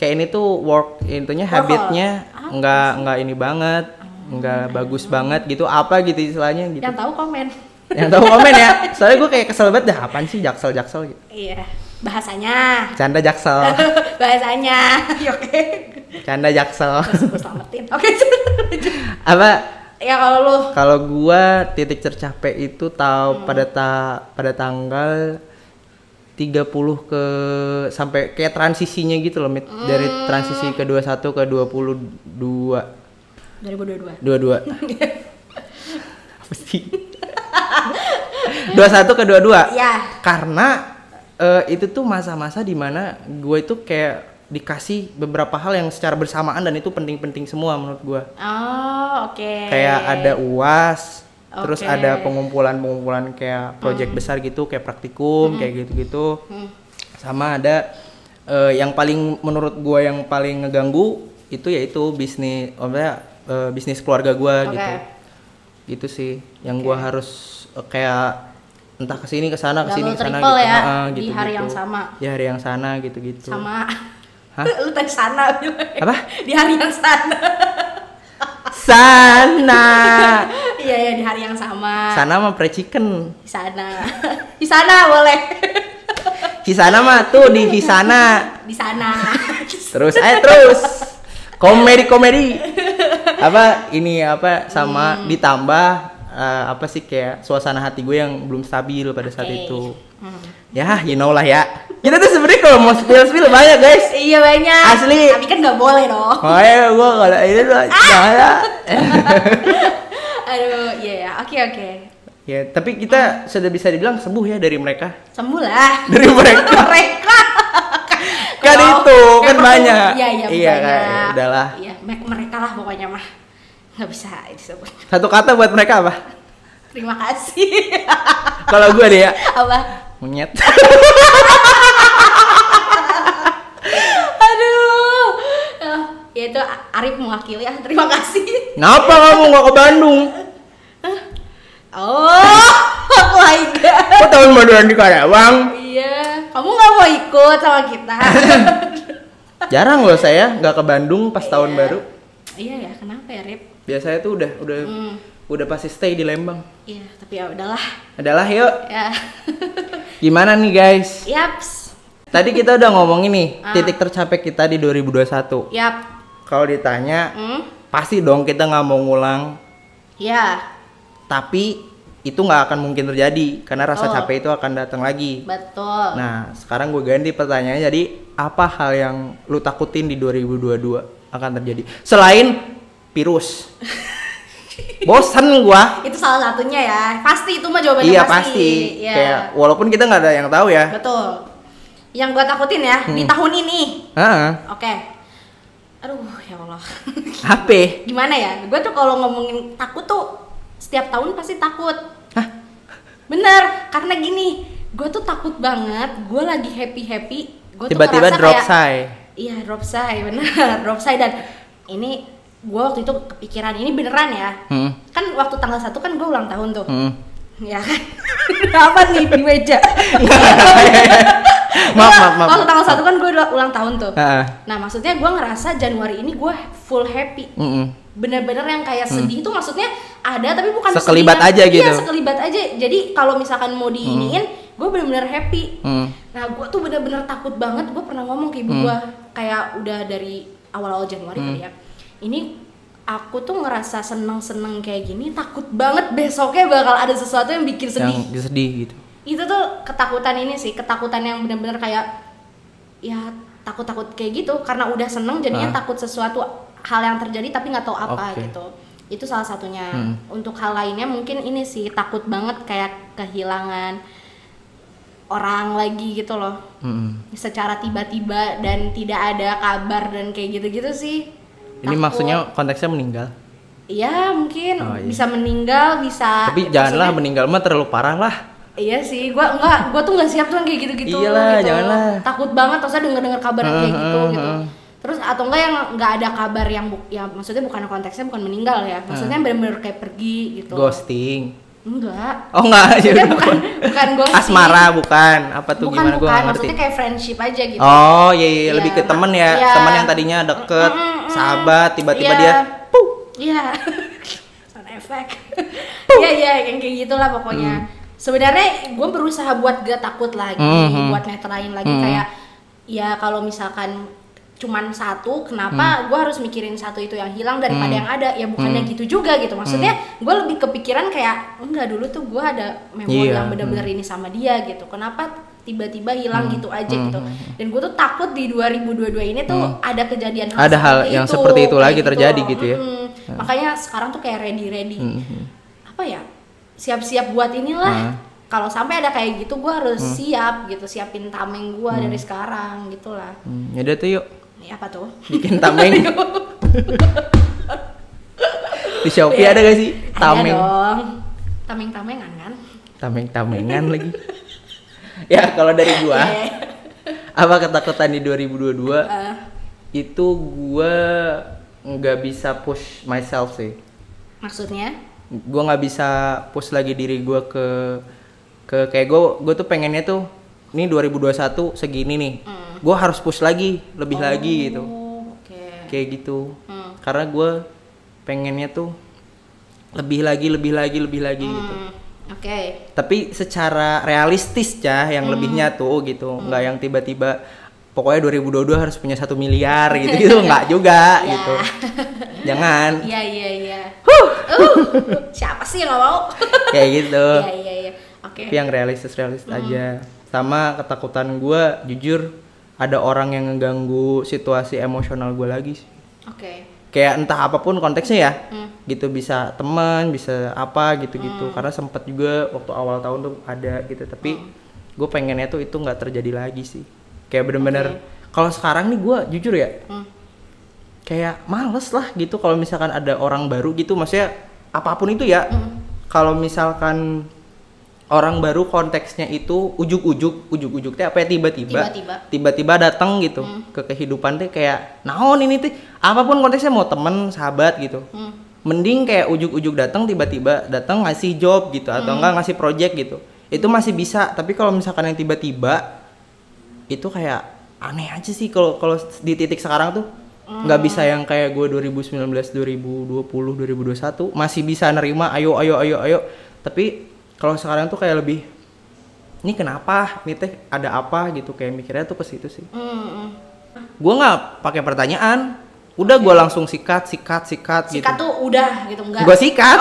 Speaker 1: Kayak ini tuh work intinya
Speaker 2: Workaholic.
Speaker 1: habitnya
Speaker 2: Apa
Speaker 1: nggak nggak ini banget, nggak bagus banget gitu. Apa gitu istilahnya gitu.
Speaker 2: yang tahu komen
Speaker 1: Yang tahu komen ya. Soalnya gue kayak kesel banget dah apaan sih jaksel-jaksel gitu.
Speaker 2: iya bahasanya
Speaker 1: Canda jaksel,
Speaker 2: bahasanya
Speaker 1: Iya,
Speaker 2: Ya, oke
Speaker 1: canda jaksel.
Speaker 2: gue selamatin oke lanjut.
Speaker 1: apa
Speaker 2: ya kalau lu
Speaker 1: kalau gua titik tercapek itu tahu pada ta pada tanggal 30 ke sampai kayak transisinya gitu loh Mit. dari transisi ke 21 ke 22
Speaker 2: 2022
Speaker 1: 22 apa sih 21 ke 22
Speaker 2: ya
Speaker 1: karena eh, itu tuh masa-masa dimana gue itu kayak dikasih beberapa hal yang secara bersamaan dan itu penting-penting semua menurut gua
Speaker 2: oh oke
Speaker 1: kayak ada UAS, terus
Speaker 2: Oke.
Speaker 1: ada pengumpulan-pengumpulan kayak proyek besar gitu, kayak praktikum, kayak gitu-gitu.
Speaker 2: Hmm.
Speaker 1: Sama ada eh, yang paling menurut gua yang paling ngeganggu itu yaitu bisnis, oh, maksudnya, eh, bisnis keluarga gua
Speaker 2: Oke.
Speaker 1: gitu. Gitu sih yang gua harus eh, kayak entah ke sini ke sana ke sini ke
Speaker 2: Double
Speaker 1: sana
Speaker 2: triple ya,
Speaker 1: gitu. Heeh,
Speaker 2: di hari yang sama.
Speaker 1: Di hari yang sana gitu-gitu.
Speaker 2: sama
Speaker 1: Hah?
Speaker 2: lu tadi sana bilang.
Speaker 1: Apa?
Speaker 2: di hari yang sana
Speaker 1: Sana.
Speaker 2: iya ya di hari yang sama
Speaker 1: sana mah pre chicken.
Speaker 2: di sana di sana boleh
Speaker 1: Kisana mah tuh di Kisana.
Speaker 2: di sana
Speaker 1: Terus eh terus komedi-komedi apa ini apa sama
Speaker 2: Hmm.
Speaker 1: ditambah eh, apa sih kayak suasana hati gue yang belum stabil pada saat
Speaker 2: Oke.
Speaker 1: itu.
Speaker 2: Hmm.
Speaker 1: Ya, you know lah ya. Kita tuh sebenarnya kalau mau spill spill banyak guys.
Speaker 2: iya banyak
Speaker 1: Asli.
Speaker 2: tapi kan nggak boleh dong
Speaker 1: Oh ya, gue kalau ini tuh
Speaker 2: Ah!
Speaker 1: jangan ya.
Speaker 2: aduh iya ya oke oke
Speaker 1: Ya, tapi kita sudah bisa dibilang sembuh ya dari mereka.
Speaker 2: sembuh lah
Speaker 1: Dari mereka.
Speaker 2: mereka
Speaker 1: Kan
Speaker 2: Kalau-
Speaker 1: itu, kan
Speaker 2: perlu-
Speaker 1: banyak.
Speaker 2: iya iya
Speaker 1: Iya, kan,
Speaker 2: banyak
Speaker 1: udahlah.
Speaker 2: iya me- mereka lah pokoknya mah nggak bisa disebut
Speaker 1: Satu kata buat mereka apa?
Speaker 2: terima kasih
Speaker 1: Kalau gue deh ya,
Speaker 2: apa
Speaker 1: monyet.
Speaker 2: aduh Eh, ya itu A- Arif mewakili ya terima kasih
Speaker 1: Kenapa kamu nggak ke Bandung?
Speaker 2: oh my
Speaker 1: Kok
Speaker 2: god
Speaker 1: tahun baruan di Karawang?
Speaker 2: iya kamu nggak mau ikut sama kita
Speaker 1: Jarang loh saya nggak ke Bandung pas tahun
Speaker 2: Iya.
Speaker 1: baru.
Speaker 2: iya ya kenapa ya Arif
Speaker 1: Biasanya tuh udah udah
Speaker 2: Hmm.
Speaker 1: udah pasti stay di Lembang.
Speaker 2: iya tapi ya udahlah
Speaker 1: Adalah yuk.
Speaker 2: ya
Speaker 1: Gimana nih guys?
Speaker 2: yaps
Speaker 1: Tadi kita udah ngomongin nih
Speaker 2: Ah.
Speaker 1: titik tercapek kita di 2021.
Speaker 2: yap
Speaker 1: Kalau ditanya
Speaker 2: hmm
Speaker 1: pasti dong kita nggak mau ngulang,
Speaker 2: ya
Speaker 1: tapi itu nggak akan mungkin terjadi karena rasa
Speaker 2: Oh.
Speaker 1: capek itu akan datang lagi.
Speaker 2: betul
Speaker 1: Nah, sekarang gue ganti pertanyaannya jadi apa hal yang lu takutin di 2022 akan terjadi selain virus? Bosan gua.
Speaker 2: itu salah satunya ya pasti itu mah jawabannya
Speaker 1: Iya
Speaker 2: pasti
Speaker 1: pasti.
Speaker 2: Iya.
Speaker 1: Kayak walaupun kita nggak ada yang tahu ya.
Speaker 2: betul yang gua takutin ya di
Speaker 1: Hmm.
Speaker 2: tahun ini
Speaker 1: Heeh.
Speaker 2: oke aduh ya allah
Speaker 1: HP.
Speaker 2: gimana ya gua tuh kalau ngomongin takut tuh setiap tahun pasti takut
Speaker 1: Hah?
Speaker 2: bener karena gini gua tuh takut banget gua lagi happy happy gua tuh
Speaker 1: Tiba-tiba
Speaker 2: ngerasa
Speaker 1: drop
Speaker 2: kayak-
Speaker 1: say.
Speaker 2: Iya drop say benar drop say dan ini gue waktu itu kepikiran ini beneran ya
Speaker 1: Hmm.
Speaker 2: kan waktu tanggal satu kan gue ulang tahun tuh
Speaker 1: Hmm.
Speaker 2: ya kan apa nih di meja
Speaker 1: maaf, maaf, maaf.
Speaker 2: waktu tanggal satu kan gue ulang tahun tuh
Speaker 1: Heeh.
Speaker 2: nah maksudnya gue ngerasa Januari ini gue full happy
Speaker 1: Mm-mm.
Speaker 2: bener-bener yang kayak sedih itu maksudnya ada tapi bukan
Speaker 1: Hmm. Sekelibat
Speaker 2: kesedihan.
Speaker 1: aja gitu.
Speaker 2: iya sekelibat aja jadi kalau misalkan mau diiniin gue bener-bener happy
Speaker 1: Hmm.
Speaker 2: nah gue tuh bener-bener takut banget gue pernah ngomong ke ibu gue kayak udah dari awal-awal Januari kali
Speaker 1: Hmm.
Speaker 2: ya ini aku tuh ngerasa seneng-seneng kayak gini takut banget besoknya bakal ada sesuatu yang bikin sedih
Speaker 1: Yang sedih gitu.
Speaker 2: itu tuh ketakutan ini sih ketakutan yang bener-bener kayak ya takut-takut kayak gitu karena udah seneng jadinya
Speaker 1: Ah.
Speaker 2: takut sesuatu hal yang terjadi tapi nggak tahu apa
Speaker 1: Oke.
Speaker 2: gitu itu salah satunya
Speaker 1: Hmm.
Speaker 2: untuk hal lainnya mungkin ini sih takut banget kayak kehilangan orang lagi gitu loh
Speaker 1: Mm-mm.
Speaker 2: secara tiba-tiba dan tidak ada kabar dan kayak gitu-gitu sih
Speaker 1: Ini
Speaker 2: Takut.
Speaker 1: maksudnya konteksnya meninggal.
Speaker 2: Iya mungkin
Speaker 1: Oh, iya.
Speaker 2: bisa meninggal bisa
Speaker 1: Tapi janganlah
Speaker 2: Ah, maksudnya-
Speaker 1: meninggal mah terlalu parah lah.
Speaker 2: Iya sih, gua enggak, gua tuh nggak siap tuh yang kayak gitu-gitu.
Speaker 1: Iyalah,
Speaker 2: gitu.
Speaker 1: janganlah.
Speaker 2: Takut banget terus denger-denger kabar yang kayak
Speaker 1: Heeh,
Speaker 2: gitu
Speaker 1: heeh,
Speaker 2: gitu.
Speaker 1: heeh.
Speaker 2: Terus atau enggak yang nggak ada kabar yang bu- ya maksudnya bukan konteksnya bukan meninggal ya. Maksudnya bener-bener kayak pergi gitu.
Speaker 1: Ghosting.
Speaker 2: Enggak.
Speaker 1: Oh enggak,
Speaker 2: Maksudnya bukan bukan gue
Speaker 1: asmara bukan. Apa tuh
Speaker 2: bukan
Speaker 1: gimana gua
Speaker 2: bukan
Speaker 1: nggak ngerti.
Speaker 2: maksudnya kayak friendship aja gitu.
Speaker 1: Oh iya, iya,
Speaker 2: Iya,
Speaker 1: lebih ke
Speaker 2: mak-
Speaker 1: temen ya,
Speaker 2: iya.
Speaker 1: temen yang tadinya deket,
Speaker 2: Mm, mm, mm.
Speaker 1: sahabat, tiba-tiba
Speaker 2: Iya.
Speaker 1: dia, puh.
Speaker 2: Iya. Sound effect. Iya iya yang kayak gitulah pokoknya.
Speaker 1: Hmm.
Speaker 2: Sebenarnya gue berusaha buat gak takut lagi,
Speaker 1: Mhm.
Speaker 2: buat netrain lagi
Speaker 1: Mhm.
Speaker 2: kayak ya kalau misalkan cuman satu,
Speaker 1: Hmm.
Speaker 2: kenapa gue harus mikirin satu itu yang hilang daripada yang ada? Ya bukannya gitu juga gitu. Maksudnya
Speaker 1: Hmm.
Speaker 2: gue lebih kepikiran kayak enggak dulu tuh gue ada memori
Speaker 1: Iya,
Speaker 2: yang bener-bener ini sama dia gitu. Kenapa tiba-tiba hilang
Speaker 1: Hmm.
Speaker 2: gitu aja gitu. Dan gue tuh takut di 2022 ini tuh
Speaker 1: Hmm.
Speaker 2: ada kejadian
Speaker 1: Ada hal
Speaker 2: seperti
Speaker 1: yang seperti itu
Speaker 2: kayak
Speaker 1: lagi terjadi gitu ya. Mm.
Speaker 2: Mm-mm. Makanya sekarang tuh kayak ready ready.
Speaker 1: Mm-hmm.
Speaker 2: Apa ya? Siap-siap buat inilah.
Speaker 1: Ah. Mm.
Speaker 2: Kalau sampai ada kayak gitu gue harus siap gitu, siapin tameng gue dari sekarang gitulah.
Speaker 1: Hmm, ya udah tuh yuk,
Speaker 2: Ini apa tuh?
Speaker 1: bikin tameng. Di Shopee
Speaker 2: Iya.
Speaker 1: ada gak sih? Tameng.
Speaker 2: Ada dong. Tameng-tamengan kan?
Speaker 1: Tameng-tamengan lagi. ya kalau dari gua,
Speaker 2: Eh,
Speaker 1: apa ketakutan di 2022?
Speaker 2: eh,
Speaker 1: Itu gua nggak bisa push myself sih.
Speaker 2: maksudnya?
Speaker 1: gue nggak bisa push lagi diri gue ke ke kayak gue gue tuh pengennya tuh ini 2021 segini nih
Speaker 2: Hmm.
Speaker 1: gue harus push lagi lebih lagi gitu
Speaker 2: Oh, Oke.
Speaker 1: kayak gitu
Speaker 2: Hmm.
Speaker 1: karena gue pengennya tuh lebih lagi lebih lagi lebih lagi gitu
Speaker 2: Hmm, Oke.
Speaker 1: tapi secara realistis cah
Speaker 2: Hmm.
Speaker 1: yang lebihnya tuh gitu nggak yang tiba-tiba pokoknya 2022 harus punya satu miliar gitu gitu nggak juga
Speaker 2: Ya.
Speaker 1: gitu jangan
Speaker 2: Iya iya iya. Uh, siapa sih yang gak mau?
Speaker 1: kayak gitu
Speaker 2: Iya Hmm. iya iya. Oke.
Speaker 1: tapi yang realistis realistis aja sama ketakutan gue jujur ada orang yang ngeganggu situasi emosional gue lagi sih.
Speaker 2: Oke.
Speaker 1: kayak entah apapun konteksnya ya
Speaker 2: Hmm.
Speaker 1: gitu bisa teman bisa apa gitu gitu karena sempat juga waktu awal tahun tuh ada gitu tapi gue pengennya tuh itu nggak terjadi lagi sih kayak bener-bener kalau sekarang nih gue jujur ya
Speaker 2: Hmm.
Speaker 1: kayak males lah gitu kalau misalkan ada orang baru gitu maksudnya apapun itu ya kalau misalkan orang baru konteksnya itu ujuk-ujuk ujuk-ujuk teh apa ya tiba-tiba
Speaker 2: Tiba-tiba.
Speaker 1: tiba-tiba datang gitu ke kehidupan teh kayak naon ini teh apapun konteksnya mau temen sahabat gitu
Speaker 2: Hmm.
Speaker 1: mending kayak ujuk-ujuk datang tiba-tiba datang ngasih job gitu atau enggak ngasih project gitu itu masih bisa tapi kalau misalkan yang tiba-tiba itu kayak aneh aja sih kalau kalau di titik sekarang tuh nggak bisa yang kayak gue 2019 2020 2021 masih bisa nerima ayo ayo ayo ayo tapi kalau sekarang tuh kayak lebih ini kenapa ini teh ada apa gitu kayak mikirnya tuh ke situ sih
Speaker 2: Hmm, hmm.
Speaker 1: gue nggak pakai pertanyaan udah gue langsung sikat sikat sikat, gitu
Speaker 2: Sikat tuh udah gitu enggak.
Speaker 1: gue sikat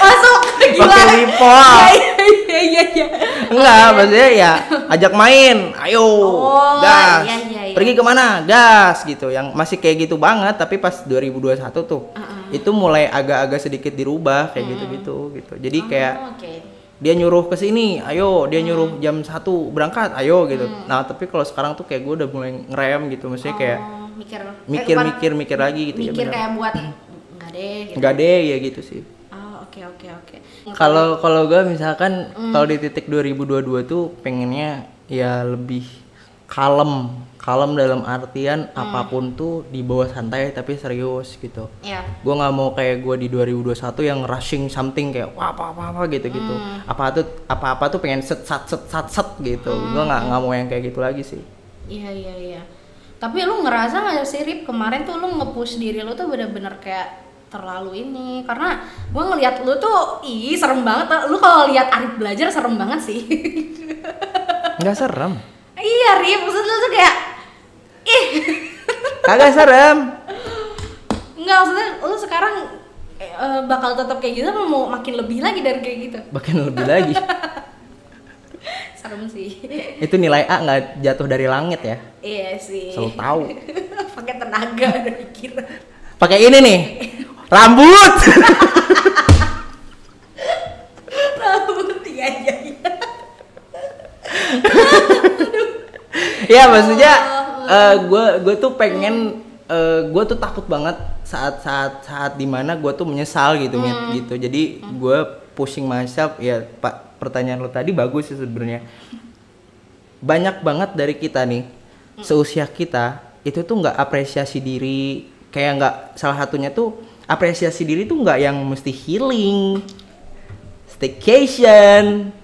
Speaker 2: Masuk gila.
Speaker 1: pakai wipol
Speaker 2: Iya iya iya iya.
Speaker 1: enggak maksudnya ya ajak main ayo
Speaker 2: Oh,
Speaker 1: gas
Speaker 2: iya, iya, iya.
Speaker 1: pergi kemana gas gitu yang masih kayak gitu banget tapi pas 2021 tuh
Speaker 2: Uh-uh.
Speaker 1: itu mulai agak-agak sedikit dirubah kayak gitu-gitu gitu jadi kayak
Speaker 2: Iya. Oh, Hmm. Oke.
Speaker 1: dia nyuruh ke sini ayo dia nyuruh jam satu berangkat ayo gitu
Speaker 2: Hmm.
Speaker 1: nah tapi kalau sekarang tuh kayak gue udah mulai ngerem gitu maksudnya kayak
Speaker 2: Oh, mikir eh, bukan,
Speaker 1: mikir-mikir mikir lagi gitu
Speaker 2: mikir
Speaker 1: ya bener.
Speaker 2: kayak buat enggak deh gitu.
Speaker 1: enggak deh ya gitu sih
Speaker 2: Oh, oke oke oke.
Speaker 1: Kalau kalau gue misalkan kalau di titik 2022 tuh pengennya ya lebih kalem, kalem dalam artian apapun tuh di bawah santai tapi serius gitu.
Speaker 2: Iya.
Speaker 1: Gue nggak mau kayak gue di 2021 yang rushing something kayak wah apa apa apa gitu gitu. Apa tuh apa apa tuh pengen set set set set, set gitu. Gue nggak nggak mau yang kayak gitu lagi sih.
Speaker 2: Iya iya iya. Tapi lu ngerasa nggak sih Rip kemarin tuh lu nge-push diri lu tuh bener-bener kayak terlalu ini karena gue ngelihat lu tuh ih serem banget lu kalau lihat Arif belajar serem banget sih
Speaker 1: nggak serem
Speaker 2: iya Arif maksud lu tuh kayak ih
Speaker 1: kagak serem
Speaker 2: nggak maksudnya lu sekarang eh, bakal tetap kayak gitu apa mau makin lebih lagi dari kayak gitu
Speaker 1: bahkan lebih lagi
Speaker 2: serem sih
Speaker 1: itu nilai A nggak jatuh dari langit ya
Speaker 2: iya sih
Speaker 1: selalu tahu
Speaker 2: pakai tenaga dan pikiran
Speaker 1: pakai ini nih rambut
Speaker 2: rambut iya iya iya
Speaker 1: ya maksudnya gue gue tuh pengen gue tuh takut banget saat saat saat dimana gue tuh menyesal gitu Mit, gitu jadi gue pushing myself ya pak pertanyaan lo tadi bagus sih sebenarnya banyak banget dari kita nih
Speaker 2: Hmm.
Speaker 1: seusia kita itu tuh nggak apresiasi diri kayak nggak salah satunya tuh apresiasi diri tuh nggak yang mesti healing staycation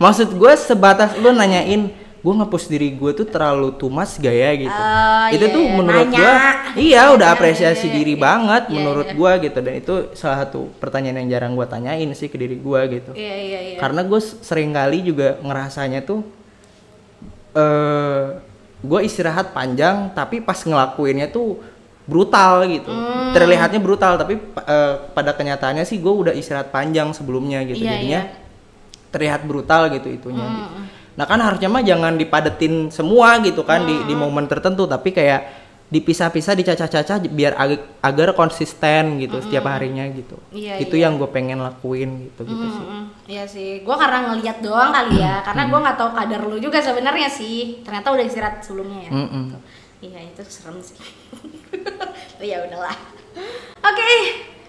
Speaker 1: maksud gue sebatas lu nanyain gue ngepost diri gue tuh terlalu tumas gaya gitu
Speaker 2: Oh,
Speaker 1: itu
Speaker 2: iya,
Speaker 1: tuh
Speaker 2: iya.
Speaker 1: menurut
Speaker 2: Nanya.
Speaker 1: gue iya
Speaker 2: Iya,
Speaker 1: udah
Speaker 2: iya,
Speaker 1: apresiasi
Speaker 2: iya, iya,
Speaker 1: diri
Speaker 2: iya.
Speaker 1: banget
Speaker 2: Iya,
Speaker 1: menurut
Speaker 2: iya.
Speaker 1: gue gitu dan itu salah satu pertanyaan yang jarang gue tanyain sih ke diri gue gitu
Speaker 2: iya iya iya
Speaker 1: karena gue sering kali juga ngerasanya tuh eh gue istirahat panjang tapi pas ngelakuinnya tuh brutal gitu
Speaker 2: Hmm.
Speaker 1: terlihatnya brutal tapi eh, pada kenyataannya sih gue udah istirahat panjang sebelumnya gitu
Speaker 2: Iya,
Speaker 1: jadinya
Speaker 2: iya. Hmm.
Speaker 1: terlihat brutal gitu itunya gitu. nah kan harusnya mah jangan dipadetin semua gitu kan di
Speaker 2: Hmm.
Speaker 1: di momen tertentu tapi kayak dipisah-pisah dicacah-cacah biar ag- agar konsisten gitu setiap harinya gitu
Speaker 2: Hmm. Iya,
Speaker 1: itu yang gue pengen lakuin gitu gitu sih
Speaker 2: Mm-mm. Iya sih, gue karena ngeliat doang kali ya, karena gue nggak tahu kadar lu juga sebenarnya sih. Ternyata udah istirahat sebelumnya ya.
Speaker 1: Mm-mm.
Speaker 2: Gitu. Iya itu serem sih. Tapi ya udahlah. Oke,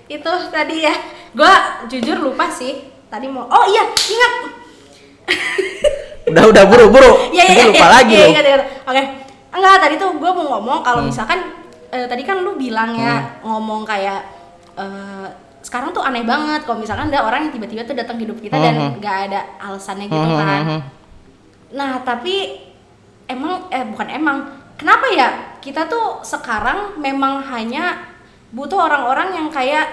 Speaker 2: itu tadi ya. Gue jujur lupa sih. Tadi mau, oh iya ingat.
Speaker 1: udah udah buru buru
Speaker 2: Iya iya.
Speaker 1: Nanti
Speaker 2: iya,
Speaker 1: lupa
Speaker 2: iya,
Speaker 1: lagi Hmm.
Speaker 2: iya,
Speaker 1: loh
Speaker 2: ingat, ingat. Oke, enggak tadi tuh gue mau ngomong kalau misalkan eh, tadi kan lu bilang ya
Speaker 1: Hmm.
Speaker 2: ngomong kayak eh, sekarang tuh aneh banget kalau misalkan ada orang yang tiba-tiba tuh datang hidup kita dan
Speaker 1: Mhm.
Speaker 2: nggak ada alasannya gitu
Speaker 1: Hmm,
Speaker 2: kan.
Speaker 1: hmm, hmm.
Speaker 2: Nah, tapi emang eh bukan emang. Kenapa ya? Kita tuh sekarang memang hanya butuh orang-orang yang kayak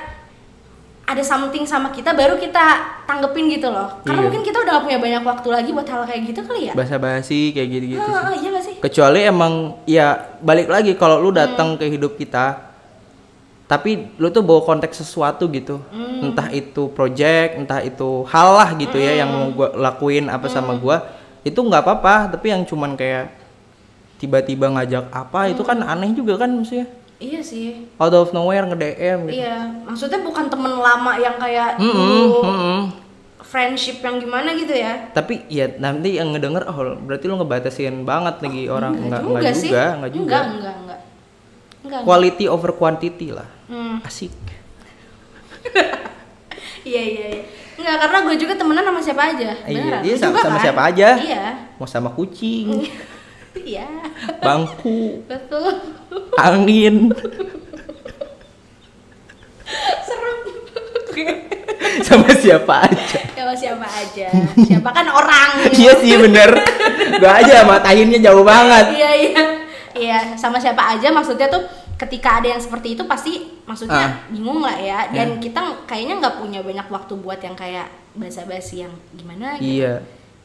Speaker 2: ada something sama kita baru kita tanggepin gitu loh. Karena
Speaker 1: Iya.
Speaker 2: mungkin kita udah gak punya banyak waktu lagi buat hal kayak gitu kali ya.
Speaker 1: bahasa basi kayak gitu gitu
Speaker 2: Heeh, iya gak sih?
Speaker 1: kecuali emang ya balik lagi kalau lu
Speaker 2: Hmm.
Speaker 1: datang ke hidup kita tapi lu tuh bawa konteks sesuatu gitu
Speaker 2: Hmm.
Speaker 1: entah itu project entah itu hal lah gitu ya yang
Speaker 2: Hmm.
Speaker 1: mau gua lakuin apa sama gua itu nggak apa-apa tapi yang cuman kayak tiba-tiba ngajak apa itu kan
Speaker 2: Hmm.
Speaker 1: aneh juga kan maksudnya
Speaker 2: Iya sih.
Speaker 1: out of nowhere nge DM gitu
Speaker 2: Iya, maksudnya bukan temen lama yang kayak
Speaker 1: Mm-mm,
Speaker 2: dulu
Speaker 1: mm-mm.
Speaker 2: friendship yang gimana gitu ya.
Speaker 1: tapi ya nanti yang ngedenger oh berarti lu ngebatasin banget lagi
Speaker 2: Oh,
Speaker 1: orang nggak nggak juga, nggak juga
Speaker 2: Enggak, enggak, enggak. Enggak, enggak.
Speaker 1: quality over quantity lah
Speaker 2: Hmm.
Speaker 1: asik
Speaker 2: Iya iya iya. Enggak karena gue juga temenan sama siapa aja.
Speaker 1: Iya,
Speaker 2: Beneran.
Speaker 1: iya,
Speaker 2: Lu
Speaker 1: sama-
Speaker 2: juga
Speaker 1: sama
Speaker 2: kan?
Speaker 1: siapa aja.
Speaker 2: Iya.
Speaker 1: mau sama kucing
Speaker 2: Iya.
Speaker 1: bangku
Speaker 2: Betul.
Speaker 1: angin
Speaker 2: Serem. Oke.
Speaker 1: sama siapa aja
Speaker 2: Sama siapa aja. Siapa kan orang.
Speaker 1: iya sih bener gua aja sama tahinnya jauh banget
Speaker 2: Iya iya. Iya, sama siapa aja maksudnya tuh ketika ada yang seperti itu pasti maksudnya
Speaker 1: Ah.
Speaker 2: bingung lah ya dan kita kayaknya nggak punya banyak waktu buat yang kayak basa-basi yang gimana gitu.
Speaker 1: iya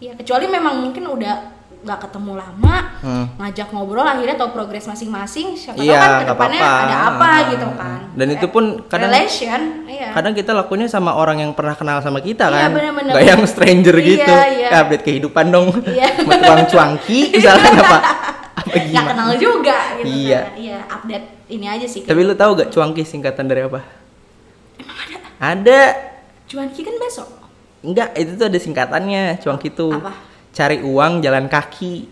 Speaker 2: Iya, kecuali memang mungkin udah nggak ketemu lama,
Speaker 1: Hmm.
Speaker 2: ngajak ngobrol akhirnya tahu progres masing-masing, siapa tahu
Speaker 1: Iya,
Speaker 2: kan
Speaker 1: nggak
Speaker 2: kedepannya
Speaker 1: apa-apa.
Speaker 2: ada apa
Speaker 1: Ah.
Speaker 2: gitu kan.
Speaker 1: Dan itu
Speaker 2: Eh,
Speaker 1: pun kadang-
Speaker 2: relation, iya.
Speaker 1: kadang kita lakunya sama orang yang pernah kenal sama kita
Speaker 2: Iya,
Speaker 1: kan
Speaker 2: bener-bener.
Speaker 1: Nggak yang stranger
Speaker 2: Iya,
Speaker 1: gitu
Speaker 2: iya.
Speaker 1: Eh, update kehidupan dong
Speaker 2: Iya.
Speaker 1: mau tuang cuangki misalkan apa apa
Speaker 2: nggak
Speaker 1: Oh, gimana
Speaker 2: kenal juga gitu
Speaker 1: Iya.
Speaker 2: kan. Iya, update ini aja sih.
Speaker 1: tapi lu tahu gak cuangki singkatan dari apa ada
Speaker 2: Cuan Ki kan besok.
Speaker 1: Enggak, itu tuh ada singkatannya, cuang itu.
Speaker 2: Apa?
Speaker 1: Cari uang jalan kaki.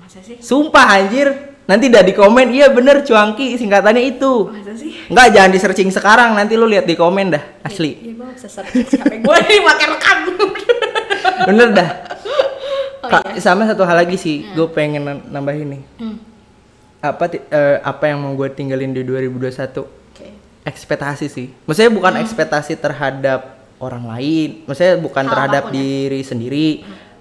Speaker 2: Masa sih?
Speaker 1: Sumpah anjir. Nanti udah di komen, iya bener cuangki singkatannya itu.
Speaker 2: Masa sih?
Speaker 1: Enggak, jangan di searching sekarang, nanti lu lihat di komen dah, asli.
Speaker 2: Iya, gue sesat sampai gue nih pakai rekam.
Speaker 1: Bener dah.
Speaker 2: Oh,
Speaker 1: Kak, sama satu hal lagi sih, gue pengen nan- nambahin nih.
Speaker 2: Hmm.
Speaker 1: Apa ti- eh, apa yang mau gue tinggalin di 2021?
Speaker 2: Oke.
Speaker 1: ekspektasi sih. Maksudnya bukan
Speaker 2: Hmm.
Speaker 1: ekspektasi terhadap orang lain, maksudnya bukan
Speaker 2: Hal
Speaker 1: terhadap
Speaker 2: apapun ya. Hmm.
Speaker 1: diri sendiri,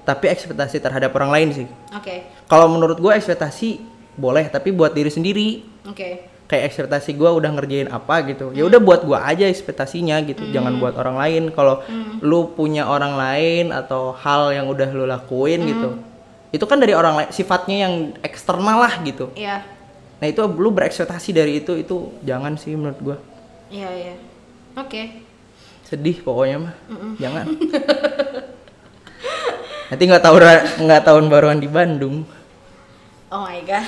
Speaker 1: tapi ekspektasi terhadap orang lain sih.
Speaker 2: Oke.
Speaker 1: Kalau menurut gue ekspektasi boleh, tapi buat diri sendiri.
Speaker 2: Oke.
Speaker 1: kayak ekspektasi gua udah ngerjain apa gitu ya
Speaker 2: Hmm.
Speaker 1: udah buat gua aja ekspektasinya gitu jangan buat orang lain kalau
Speaker 2: Hmm.
Speaker 1: lu punya orang lain atau hal yang udah lu lakuin gitu
Speaker 2: Hmm.
Speaker 1: itu kan dari orang lain sifatnya yang eksternal lah gitu
Speaker 2: Iya.
Speaker 1: nah itu lu berekspektasi dari itu itu jangan sih menurut gua
Speaker 2: Iya, iya. Oke.
Speaker 1: sedih pokoknya mah jangan nanti nggak tahu nggak tahun baruan di Bandung
Speaker 2: Oh my god.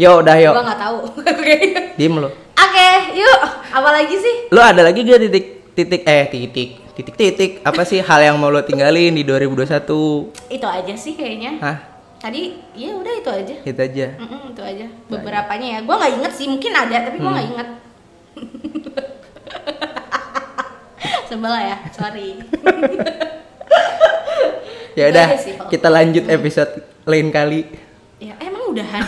Speaker 1: yo udah yo
Speaker 2: Gua nggak tahu. Oke.
Speaker 1: diem lo
Speaker 2: Oke, yuk. Apa lagi sih?
Speaker 1: lo ada lagi gak titik titik eh titik titik titik apa sih hal yang mau lo tinggalin di 2021
Speaker 2: Itu aja sih kayaknya.
Speaker 1: hah
Speaker 2: Tadi ya udah itu aja.
Speaker 1: itu aja
Speaker 2: Mm-mm, itu aja. Hmm. Beberapanya ya. Gua nggak inget sih, mungkin ada tapi gua nggak inget. Sebel ya, sorry.
Speaker 1: ya
Speaker 2: Itu
Speaker 1: udah
Speaker 2: aja sih, Pak.
Speaker 1: kita lanjut episode lain kali
Speaker 2: Ya, emang udahan.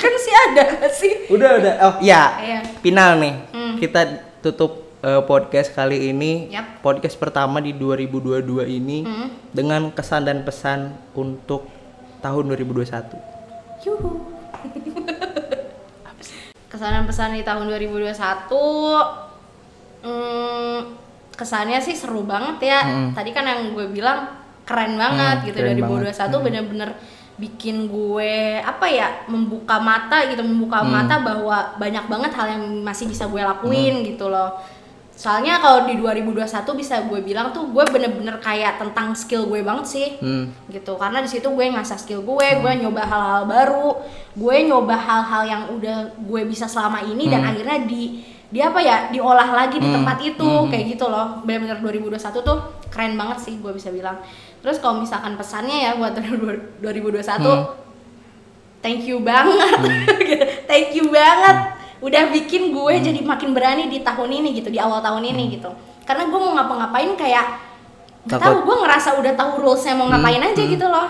Speaker 2: kan sih ada nggak sih?
Speaker 1: udah udah oh ya
Speaker 2: Iya.
Speaker 1: final nih
Speaker 2: Hmm.
Speaker 1: kita tutup eh, podcast kali ini
Speaker 2: Yap.
Speaker 1: podcast pertama di 2022 ini
Speaker 2: Hmm.
Speaker 1: dengan kesan dan pesan untuk tahun 2021
Speaker 2: Yuhu. Kesan dan pesan di tahun 2021 hmm, kesannya sih seru banget ya.
Speaker 1: Mm.
Speaker 2: Tadi kan yang gue bilang keren
Speaker 1: Mm,
Speaker 2: banget gitu
Speaker 1: keren
Speaker 2: 2021 bener-bener bikin gue apa ya membuka mata gitu membuka mata bahwa banyak banget hal yang masih bisa gue lakuin gitu loh. Soalnya kalau di 2021 bisa gue bilang tuh gue bener-bener kayak tentang skill gue banget sih
Speaker 1: hmm.
Speaker 2: gitu karena di situ gue ngasah skill gue gue nyoba hal-hal baru gue nyoba hal-hal yang udah gue bisa selama ini dan akhirnya di di apa ya diolah lagi di tempat itu kayak gitu loh benar-benar 2021 tuh keren banget sih gue bisa bilang terus kalau misalkan pesannya ya buat 2021 thank you banget Gitu. thank you banget udah bikin gue jadi makin berani di tahun ini gitu di awal tahun ini gitu karena gue mau ngapa-ngapain kayak nggak tahu
Speaker 1: Takut.
Speaker 2: gue ngerasa udah tahu rulesnya mau ngapain aja
Speaker 1: Hmm.
Speaker 2: gitu loh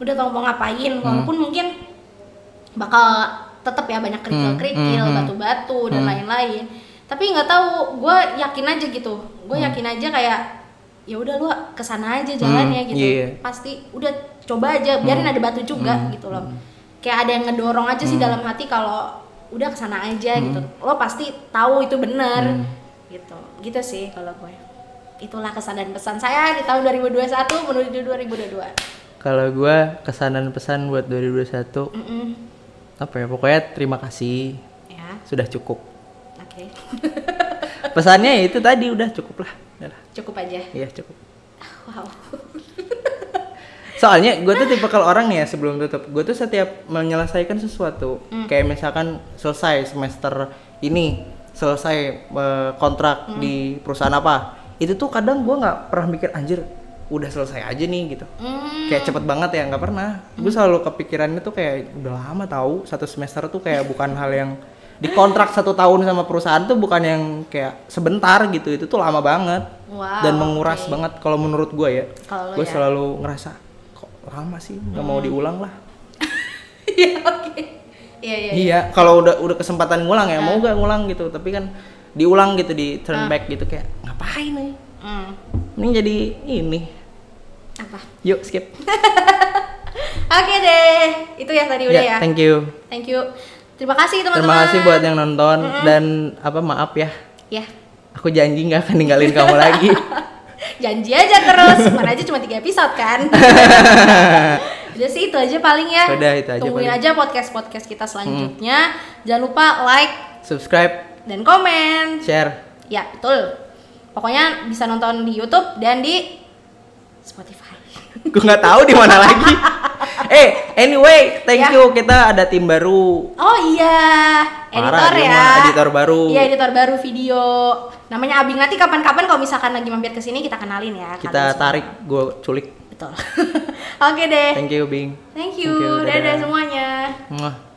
Speaker 2: udah tahu mau ngapain walaupun mungkin bakal tetap ya banyak kerikil-kerikil
Speaker 1: Hmm, hmm,
Speaker 2: batu-batu
Speaker 1: Hmm.
Speaker 2: dan
Speaker 1: Hmm.
Speaker 2: lain-lain tapi nggak tahu gue yakin aja gitu gue yakin aja kayak ya udah lu kesana aja jalannya
Speaker 1: Hmm,
Speaker 2: gitu
Speaker 1: iya. Hmm.
Speaker 2: pasti udah coba aja biarin ada batu juga gitu loh kayak ada yang ngedorong aja sih dalam hati kalau udah kesana aja
Speaker 1: Hmm.
Speaker 2: gitu lo pasti tahu itu bener gitu gitu sih kalau gue itulah kesan dan pesan saya di tahun 2021 menuju 2022
Speaker 1: kalau gua kesan dan pesan buat 2021
Speaker 2: Mm-mm.
Speaker 1: apa ya pokoknya terima kasih
Speaker 2: ya
Speaker 1: sudah cukup
Speaker 2: oke
Speaker 1: pesannya ya itu tadi udah cukup lah Udah lah.
Speaker 2: cukup aja
Speaker 1: iya cukup
Speaker 2: wow
Speaker 1: soalnya gue tuh tipe kalau orang nih ya sebelum tutup gue tuh setiap menyelesaikan sesuatu kayak misalkan selesai semester ini selesai eh, kontrak di perusahaan apa itu tuh kadang gue nggak pernah mikir anjir udah selesai aja nih gitu
Speaker 2: Hmm,
Speaker 1: kayak cepet banget ya nggak pernah gue selalu kepikirannya tuh kayak udah lama tahu satu semester tuh kayak bukan hal yang dikontrak satu tahun sama perusahaan tuh bukan yang kayak sebentar gitu itu tuh lama banget
Speaker 2: wow
Speaker 1: dan menguras
Speaker 2: Ah, oke.
Speaker 1: banget kalau menurut gue ya
Speaker 2: Kalau lo
Speaker 1: gue
Speaker 2: ya. Hmm.
Speaker 1: selalu ngerasa kok lama sih nggak mau diulang lah
Speaker 2: Iya, oke. Iya, iya. iya.
Speaker 1: iya kalau udah udah kesempatan ngulang ya mau gak ngulang gitu tapi kan diulang gitu di
Speaker 2: Ah.
Speaker 1: turn back gitu kayak ngapain nih
Speaker 2: Hmm.
Speaker 1: ini jadi ini
Speaker 2: Apa?
Speaker 1: yuk skip
Speaker 2: Oke deh. Itu ya tadi udah
Speaker 1: Ya,
Speaker 2: ya.
Speaker 1: thank you
Speaker 2: Thank you. Terima kasih teman-teman.
Speaker 1: terima kasih buat yang nonton dan apa maaf ya
Speaker 2: Ya.
Speaker 1: aku janji nggak akan ninggalin kamu lagi
Speaker 2: Janji aja terus. Mana aja cuma 3 episode kan. Udah sih itu aja paling ya.
Speaker 1: Udah, itu aja
Speaker 2: Tungguin
Speaker 1: paling. Hmm.
Speaker 2: aja podcast-podcast kita selanjutnya. Jangan lupa like
Speaker 1: subscribe
Speaker 2: dan komen.
Speaker 1: share
Speaker 2: Ya, betul. Pokoknya bisa nonton di YouTube dan di Spotify.
Speaker 1: gue nggak tahu di mana lagi eh anyway thank
Speaker 2: Ya.
Speaker 1: you kita ada tim baru
Speaker 2: Oh iya, editor
Speaker 1: Parah, dia
Speaker 2: ya.
Speaker 1: mah editor baru.
Speaker 2: Iya, editor baru video. Namanya Abi nanti kapan-kapan kalau misalkan lagi mampir ke sini kita kenalin ya.
Speaker 1: kita
Speaker 2: kalian semua.
Speaker 1: tarik gue culik
Speaker 2: Betul. Oke deh.
Speaker 1: thank you Bing
Speaker 2: Thank you.
Speaker 1: Thank you,
Speaker 2: Dadah
Speaker 1: dadah.
Speaker 2: semuanya.
Speaker 1: Mwah.